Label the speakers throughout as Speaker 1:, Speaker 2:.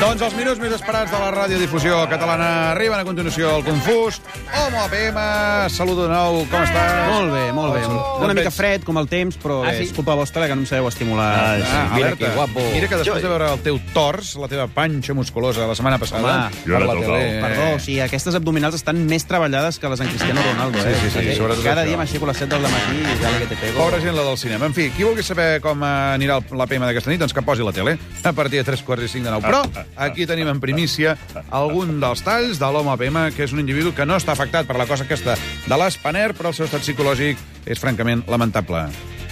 Speaker 1: Doncs els minuts més esperats de la radiodifusió catalana arriben a continuació al Confús. Home, APM, saludo de nou, com estàs?
Speaker 2: Molt bé, molt bé.
Speaker 1: Oh,
Speaker 2: Una mica
Speaker 1: veig-
Speaker 2: fred, com el temps, però
Speaker 3: Ah, sí?
Speaker 2: bé, és culpa vostra que no em sabeu estimular.
Speaker 1: Ah,
Speaker 3: Mira
Speaker 1: alerta.
Speaker 3: que guapo.
Speaker 1: Mira que després de veure el teu tors, la teva panxa musculosa la setmana passada...
Speaker 2: Home,
Speaker 1: per la tele, eh,
Speaker 2: Perdó, o sigui, aquestes abdominals estan més treballades que les en Cristiano Ronaldo, eh?
Speaker 1: Sí, sí, sí, sobretot
Speaker 2: Cada
Speaker 1: això.
Speaker 2: dia m'aixeco a les 7 del matí i ja la que te pego.
Speaker 1: Pobra gent, la del cinema. En fi, qui vulgui saber com eh, anirà el- la PM d'aquesta nit, doncs que posi la tele a partir de 3 quarts i 5 de 9. Però aquí tenim en primícia algun dels talls de l'home PM, que és un individu que no està afectat per la cosa aquesta de l'Espaner, però el seu estat psicològic és francament lamentable.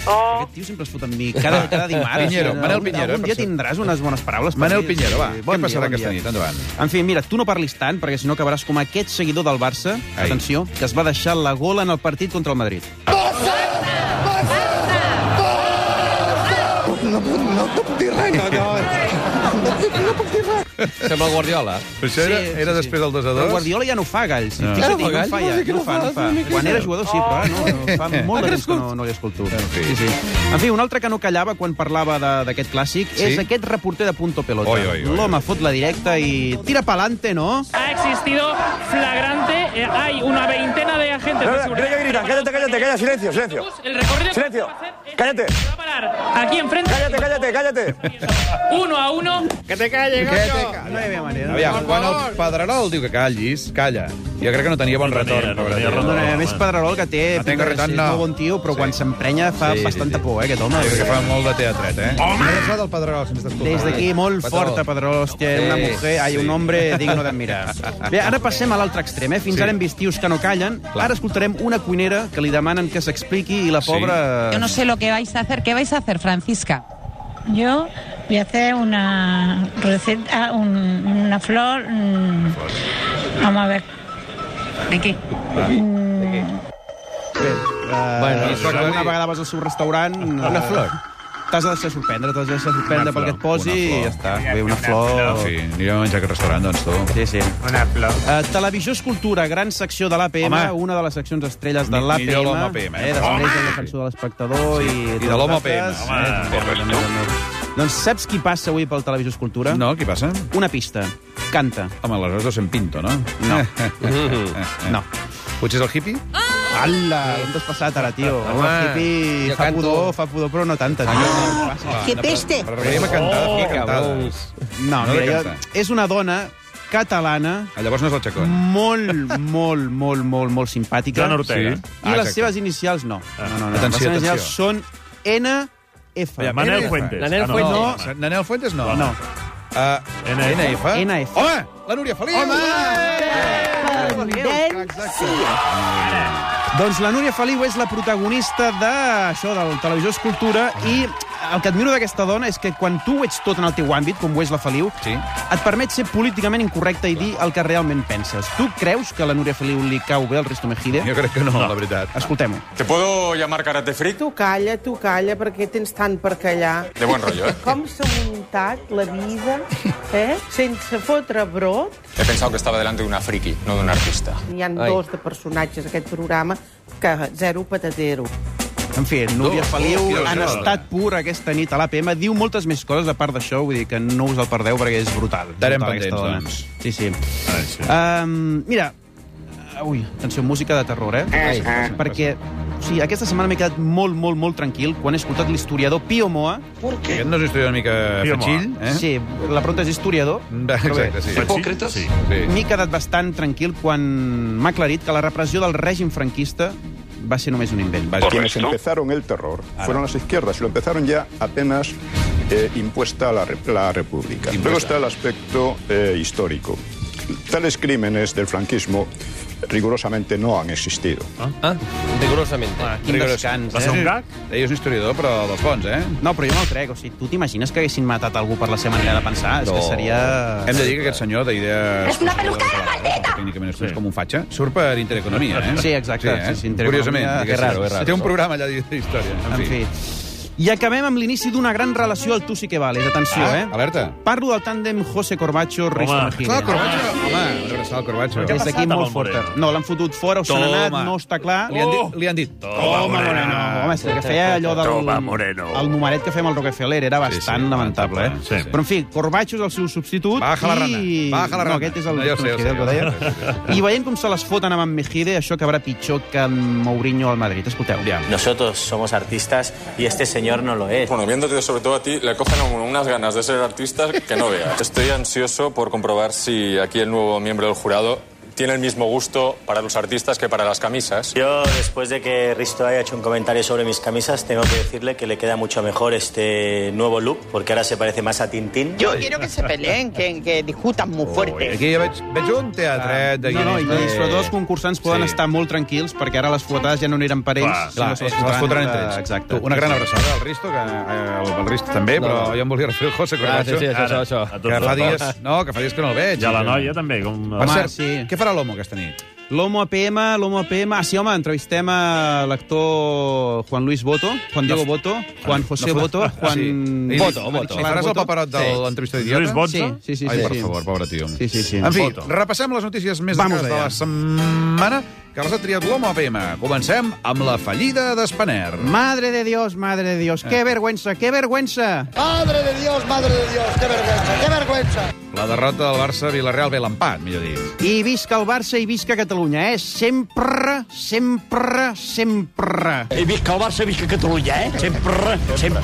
Speaker 4: Oh,
Speaker 2: Aquest tio sempre es fot amb mi cada, cada dimarts. eh,
Speaker 1: Pinheiro,
Speaker 2: Algun-
Speaker 1: Manel Pinheiro,
Speaker 2: Algun
Speaker 1: per
Speaker 2: dia
Speaker 1: cert.
Speaker 2: tindràs unes bones paraules. per
Speaker 1: Manel
Speaker 2: mi.
Speaker 1: Pinheiro, va,
Speaker 2: Sí,
Speaker 1: què passarà aquesta nit? Endavant.
Speaker 2: En fi, mira, tu no parlis tant, perquè si no acabaràs com aquest seguidor del Barça,
Speaker 1: Ai.
Speaker 2: atenció, que es va deixar la gola en el partit contra el Madrid.
Speaker 3: Sembla el Guardiola.
Speaker 1: Però això era, era després del 2 a 2?
Speaker 2: Però Guardiola ja no fa galls.
Speaker 1: No.
Speaker 2: No.
Speaker 1: Ara
Speaker 2: Fixa't,
Speaker 3: fa
Speaker 2: no,
Speaker 3: galls?
Speaker 2: no, fa, ja, no, fa, no fa. Quan era jugador sí, però ara no. no fa molt de temps que no, no l'escolto.
Speaker 1: fi.
Speaker 2: Sí, sí. En fi, un altre que no callava quan parlava de- d'aquest clàssic
Speaker 1: Sí?
Speaker 2: és aquest reporter de Punto Pelota.
Speaker 1: Oi, oi, oi.
Speaker 2: L'home fot la directa i tira pa'lante, no?
Speaker 5: ha existido flagrante. eh, hay una veintena de agentes de
Speaker 6: Mira,
Speaker 5: seguridad.
Speaker 6: mira que gritan, cállate, cállate, cállate, silencio, silencio.
Speaker 5: El recorrido que
Speaker 6: Silencio.
Speaker 5: va a hacer es-
Speaker 6: Cállate.
Speaker 5: Va a parar aquí enfrente.
Speaker 6: Cállate, cállate, cállate.
Speaker 5: Uno a uno.
Speaker 2: No hi havia manera.
Speaker 1: Aviam, quan el Pedrerol diu que callis, calla. Jo crec que no tenia bon retorn. No tenia,
Speaker 2: No, no, a eh, més, Pedrerol, que té...
Speaker 1: No tengo
Speaker 2: pinta de ser
Speaker 1: retorn, no.
Speaker 2: molt bon tio, però
Speaker 1: Sí.
Speaker 2: quan s'emprenya fa
Speaker 1: Sí, sí,
Speaker 2: bastanta
Speaker 1: sí.
Speaker 2: por, eh, aquest home.
Speaker 1: Jo crec que fa molt de teatret, eh? Home! Res del Pedrerol, si m'estàs
Speaker 2: Des d'aquí, molt
Speaker 3: Petó.
Speaker 2: forta, Pedrerol. Hòstia, una
Speaker 3: Sí,
Speaker 2: mujer, hay un hombre digno d'admirar. Bé, ara passem a l'altre extrem, eh? Fins
Speaker 1: Sí.
Speaker 2: ara hem vist tios que no callen.
Speaker 1: Clar.
Speaker 2: Ara escoltarem una cuinera que li demanen que s'expliqui i la
Speaker 1: Sí.
Speaker 2: pobra...
Speaker 7: Yo no sé lo que vais a hacer. ¿Qué vais a hacer, Francisca?
Speaker 8: Yo voy a hacer una receta, ah, un- una flor. mm, Vamos a ver.
Speaker 7: ¿De qué?
Speaker 2: Bueno,
Speaker 1: això
Speaker 2: si
Speaker 1: aclarir.
Speaker 2: alguna vegada vas al seu restaurant... Una flor. T'has de deixar sorprendre, t'has de deixar sorprendre
Speaker 1: Una
Speaker 2: pel que et
Speaker 1: flor,
Speaker 2: posi
Speaker 1: una
Speaker 2: i
Speaker 1: flor.
Speaker 2: ja està. Bé, una flor...
Speaker 1: Sí, anirem a menjar a aquest restaurant, doncs, tu.
Speaker 2: Sí, sí.
Speaker 9: Una flor.
Speaker 2: Uh, televisió és cultura, gran secció de l'APM,
Speaker 1: Home.
Speaker 2: una de les seccions estrelles de
Speaker 1: Mi-
Speaker 2: l'APM.
Speaker 1: millor l'home APM, eh?
Speaker 2: Eh, després el defensor de l'espectador i...
Speaker 1: I de
Speaker 2: tots
Speaker 1: l'home
Speaker 2: els altres.
Speaker 1: APM, home,
Speaker 2: Eh, també, també, també. Doncs saps qui passa avui pel Televisió és cultura?
Speaker 1: No, qui passa?
Speaker 2: Una pista. Canta.
Speaker 1: Home, aleshores deu ser en Pinto, no?
Speaker 2: No.
Speaker 1: Eh.
Speaker 2: No.
Speaker 1: Potser és el hippie?
Speaker 2: Ala, hem despassat ara, tio. Home, hippie
Speaker 3: jo
Speaker 2: fa
Speaker 3: canto.
Speaker 2: pudor, fa pudor, però no tanta. tio.
Speaker 1: Que peste! Però veiem a cantar, oh, cantades.
Speaker 2: No,
Speaker 1: No de
Speaker 2: mira, jo,
Speaker 1: cantar.
Speaker 2: és una dona catalana
Speaker 1: Ah, llavors no és el Chacón.
Speaker 2: molt, molt, molt, molt, molt simpàtica.
Speaker 9: Joan
Speaker 1: Sí.
Speaker 2: I
Speaker 9: Ortega.
Speaker 1: Ah, Exacte. Ah.
Speaker 2: les seves inicials no. No, no, no.
Speaker 1: Atenció,
Speaker 2: les seves inicials
Speaker 1: atenció.
Speaker 2: són NF.
Speaker 9: Oye,
Speaker 1: N F.
Speaker 9: Manel Fuentes.
Speaker 3: Manel
Speaker 9: Ah, no.
Speaker 3: Fuentes.
Speaker 1: No. Nanel Fuentes no.
Speaker 2: No.
Speaker 1: Uh,
Speaker 9: NF.
Speaker 1: NF.
Speaker 2: NF.
Speaker 1: Home, la Núria Feliu!
Speaker 2: Doncs la Núria Feliu és la protagonista d'això, del Televisió Escultura, i el que admiro d'aquesta dona és que quan tu ho ets tot en el teu àmbit, com ho és la Feliu,
Speaker 1: Sí.
Speaker 2: et permet ser políticament incorrecte i dir el que realment penses. Tu creus que a la Núria Feliu li cau bé el Risto Mejide?
Speaker 1: Jo crec que no, la veritat.
Speaker 2: Escoltem-ho.
Speaker 10: ¿Te puedo llamar karate freak?
Speaker 11: Tu calla, tu calla, perquè tens tant per callar.
Speaker 10: De buen rollo, ¿eh?
Speaker 11: Com s'ha muntat la vida, eh? Sense fotre brot.
Speaker 10: He pensado que estaba delante de una friki, no de un artista.
Speaker 11: N'hi han
Speaker 3: Ai.
Speaker 11: dos de personatges a aquest programa que zero patatero.
Speaker 2: En fi, Núria
Speaker 1: Dos.
Speaker 2: Feliu,
Speaker 1: Quina
Speaker 2: han
Speaker 1: jornada.
Speaker 2: estat pur aquesta nit a l'APM. Diu moltes més coses a part d'això, vull dir que no us el perdeu perquè és brutal.
Speaker 1: Estarem
Speaker 2: Brutal, aquesta
Speaker 1: pendents,
Speaker 2: dona.
Speaker 1: doncs.
Speaker 2: Sí, sí.
Speaker 9: Ah, sí.
Speaker 2: Um, mira, eh, ui, atenció, música de terror, eh? Ai, perquè o sigui, aquesta setmana m'he quedat molt, molt, molt tranquil quan he escoltat l'historiador Pio Moa.
Speaker 1: Aquest no és història una mica
Speaker 9: Sí, home.
Speaker 1: fetxill,
Speaker 2: Eh?
Speaker 1: eh?
Speaker 2: Sí, la pregunta és historiador. Però bé,
Speaker 1: Exacte, sí.
Speaker 9: Hipòcrites? Sí.
Speaker 1: sí.
Speaker 2: M'he quedat bastant tranquil quan m'ha aclarit que la repressió del règim franquista va ser només un invent.
Speaker 1: Vaja.
Speaker 6: Quienes empezaron el terror fueron las izquierdas y lo empezaron ya apenas eh, impuesta la, re- la República. Luego está el aspecto eh, histórico. Tales crímenes del franquismo rigurosamente no han existido.
Speaker 3: Ah, rigorosamente.
Speaker 2: Quin
Speaker 1: Rigorós.
Speaker 2: descans,
Speaker 9: Va ser
Speaker 2: eh?
Speaker 9: un gag?
Speaker 1: Ell és un historiador, però dels bons, eh?
Speaker 2: No, però jo me'l crec. O sigui, tu t'imagines que haguessin matat algú per la seva manera de pensar? No. És que seria...
Speaker 1: Hem de dir que aquest senyor d'idees... És una pelucada maldita! Tècnicament és
Speaker 9: Sí.
Speaker 1: com un fatxa. Surt per Intereconomia, eh?
Speaker 2: Sí, exacte. Sí, sí, Intereconomia,
Speaker 1: Curiosament.
Speaker 2: que
Speaker 1: diguéssim.
Speaker 2: raro, és raro.
Speaker 1: Té un programa allà d'història. En,
Speaker 2: En fi. I acabem amb l'inici d'una gran relació al Tu sí que vales. Atenció,
Speaker 1: Ah,
Speaker 2: eh?
Speaker 1: alerta.
Speaker 2: Parlo del tàndem José Corbacho-Risto
Speaker 1: Clar,
Speaker 9: Home.
Speaker 2: Mejide.
Speaker 1: Corbacho. Home, una abraçada al Corbacho.
Speaker 2: Des d'aquí
Speaker 9: passat amb
Speaker 2: molt eh?
Speaker 9: el
Speaker 2: forta.
Speaker 9: Moreno?
Speaker 2: No, l'han fotut fora, o se n'ha anat,
Speaker 1: Toma.
Speaker 2: no està clar.
Speaker 1: Li han dit... Li han dit
Speaker 9: Toma,
Speaker 2: Moreno. Home, sí, que feia allò del...
Speaker 4: Toma, Moreno.
Speaker 2: El numeret que fem al Rockefeller era bastant sí, sí, lamentable, eh?
Speaker 4: Sí.
Speaker 2: Però, en fi, Corbacho és el seu substitut
Speaker 1: Baja la rana,
Speaker 2: i...
Speaker 1: baja la rana.
Speaker 2: No, aquest és el...
Speaker 1: No, ja ho sé, ja ho sé,
Speaker 2: que
Speaker 1: ja ho sé,
Speaker 2: deia. I veient com se les foten amb en Mejide, això acabarà pitjor que en Mourinho al Madrid. Escolteu. Ja.
Speaker 9: Nosotros somos artistas y este señor no lo es.
Speaker 10: Bueno, viéndote sobre todo a ti, le cogen unas ganas de ser artista que no veas. Estoy ansioso por comprobar si aquí el nuevo miembro del jurado tiene el mismo gusto para los artistas que para las camisas.
Speaker 9: Yo, después de que Risto haya hecho un comentario sobre mis camisas, tengo que decirle que le queda mucho mejor este nuevo look, porque ahora se parece más a Tintín.
Speaker 11: Yo quiero que se peleen, que, que discutan muy fuerte.
Speaker 1: Aquí ja veig, veig un teatret de
Speaker 2: Ah. No, no, i
Speaker 1: guionistes.
Speaker 2: sobretot els concursants poden sí. estar molt tranquils perquè ara les fotades ja no aniran per
Speaker 4: Clar,
Speaker 2: ells,
Speaker 1: Clar,
Speaker 2: sinó
Speaker 1: eh, les fotran entre ells.
Speaker 2: Exacte.
Speaker 1: Tu, Una gran abraçada al Risto, que, eh, el, el Risto també,
Speaker 3: No,
Speaker 1: però
Speaker 3: no.
Speaker 1: jo em volia referir al José
Speaker 3: Ah, sí,
Speaker 1: Corbacho,
Speaker 3: sí, això,
Speaker 4: Ara,
Speaker 3: això,
Speaker 4: a
Speaker 3: això.
Speaker 4: tots
Speaker 1: que fa
Speaker 4: els
Speaker 1: dies,
Speaker 4: dos.
Speaker 1: no, que fa dies que no el veig.
Speaker 4: I a la noia també, com...
Speaker 1: Per
Speaker 2: Home,
Speaker 1: cert, sí.
Speaker 2: sí.
Speaker 1: què farà l'homo aquesta nit?
Speaker 2: L'Homo APM, l'Homo APM... Ah, sí, home, entrevistem a l'actor Juan Luis Boto, Juan Diego Boto, Juan José
Speaker 1: fa-
Speaker 2: Boto, Juan...
Speaker 1: I-
Speaker 3: Voto, voto.
Speaker 1: Li faràs el paperot de
Speaker 3: Sí.
Speaker 1: l'entrevista d'idiota?
Speaker 4: Lluís Bonzo?
Speaker 2: Sí, sí, sí.
Speaker 1: Ai,
Speaker 2: sí,
Speaker 1: per
Speaker 2: sí.
Speaker 1: favor, pobre tio.
Speaker 2: Sí, sí, sí.
Speaker 1: En fi,
Speaker 4: Foto.
Speaker 1: repassem les notícies més
Speaker 2: Vamos
Speaker 1: destacades de
Speaker 2: allà.
Speaker 1: la setmana que les ha triat l'Homo APM. Comencem amb la fallida d'Espaner.
Speaker 2: Madre de Dios, madre de Dios, qué vergüenza, qué vergüenza.
Speaker 1: La derrota del Barça a Villarreal ve l'empat, millor dit.
Speaker 2: I visca el Barça i visca Catalunya, eh? Sempre, sempre, sempre.
Speaker 4: He vist que el Barça, he vist que Catalunya, eh? Sempre, sempre,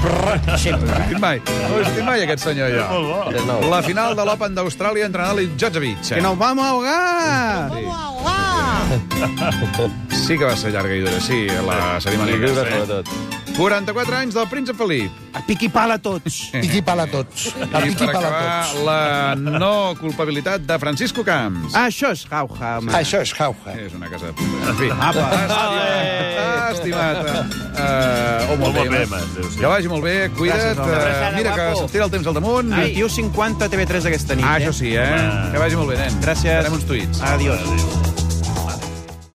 Speaker 4: sempre.
Speaker 1: Estic mai, no he estit mai aquest senyor, jo. La final de l'Open d'Austràlia entre Nadal i Djokovic.
Speaker 2: Que nos vamos a ahogar.
Speaker 1: Sí que va ser llarga i dura, sí, la cerimònia.
Speaker 3: Lliure,
Speaker 1: aquesta, eh?
Speaker 3: sobretot.
Speaker 1: 44 anys del príncep Felip.
Speaker 2: A piqui pal a tots.
Speaker 12: Piqui pala a tots.
Speaker 1: I
Speaker 12: Piqui
Speaker 1: per
Speaker 12: pala a
Speaker 1: acabar,
Speaker 12: tots.
Speaker 1: la no culpabilitat de Francisco Camps.
Speaker 2: Això és jauja, home.
Speaker 12: Això és jauja.
Speaker 1: És una casa de puta. En fi,
Speaker 2: Apa.
Speaker 1: Ah, estimat. Uh, homo
Speaker 4: Homo
Speaker 1: Deus.
Speaker 4: Deus, Deus.
Speaker 1: Que vagi molt bé, cuida't.
Speaker 2: Gràcies, home. Ah,
Speaker 1: eh, mira que se't tira el temps al damunt.
Speaker 2: Ai. 21.50 TV3 aquesta nit.
Speaker 1: Ah, això
Speaker 2: eh?
Speaker 1: sí, eh? Que vagi molt bé, nen.
Speaker 2: Gràcies.
Speaker 1: Farem uns tuits.
Speaker 2: Adiós.
Speaker 4: Adéu.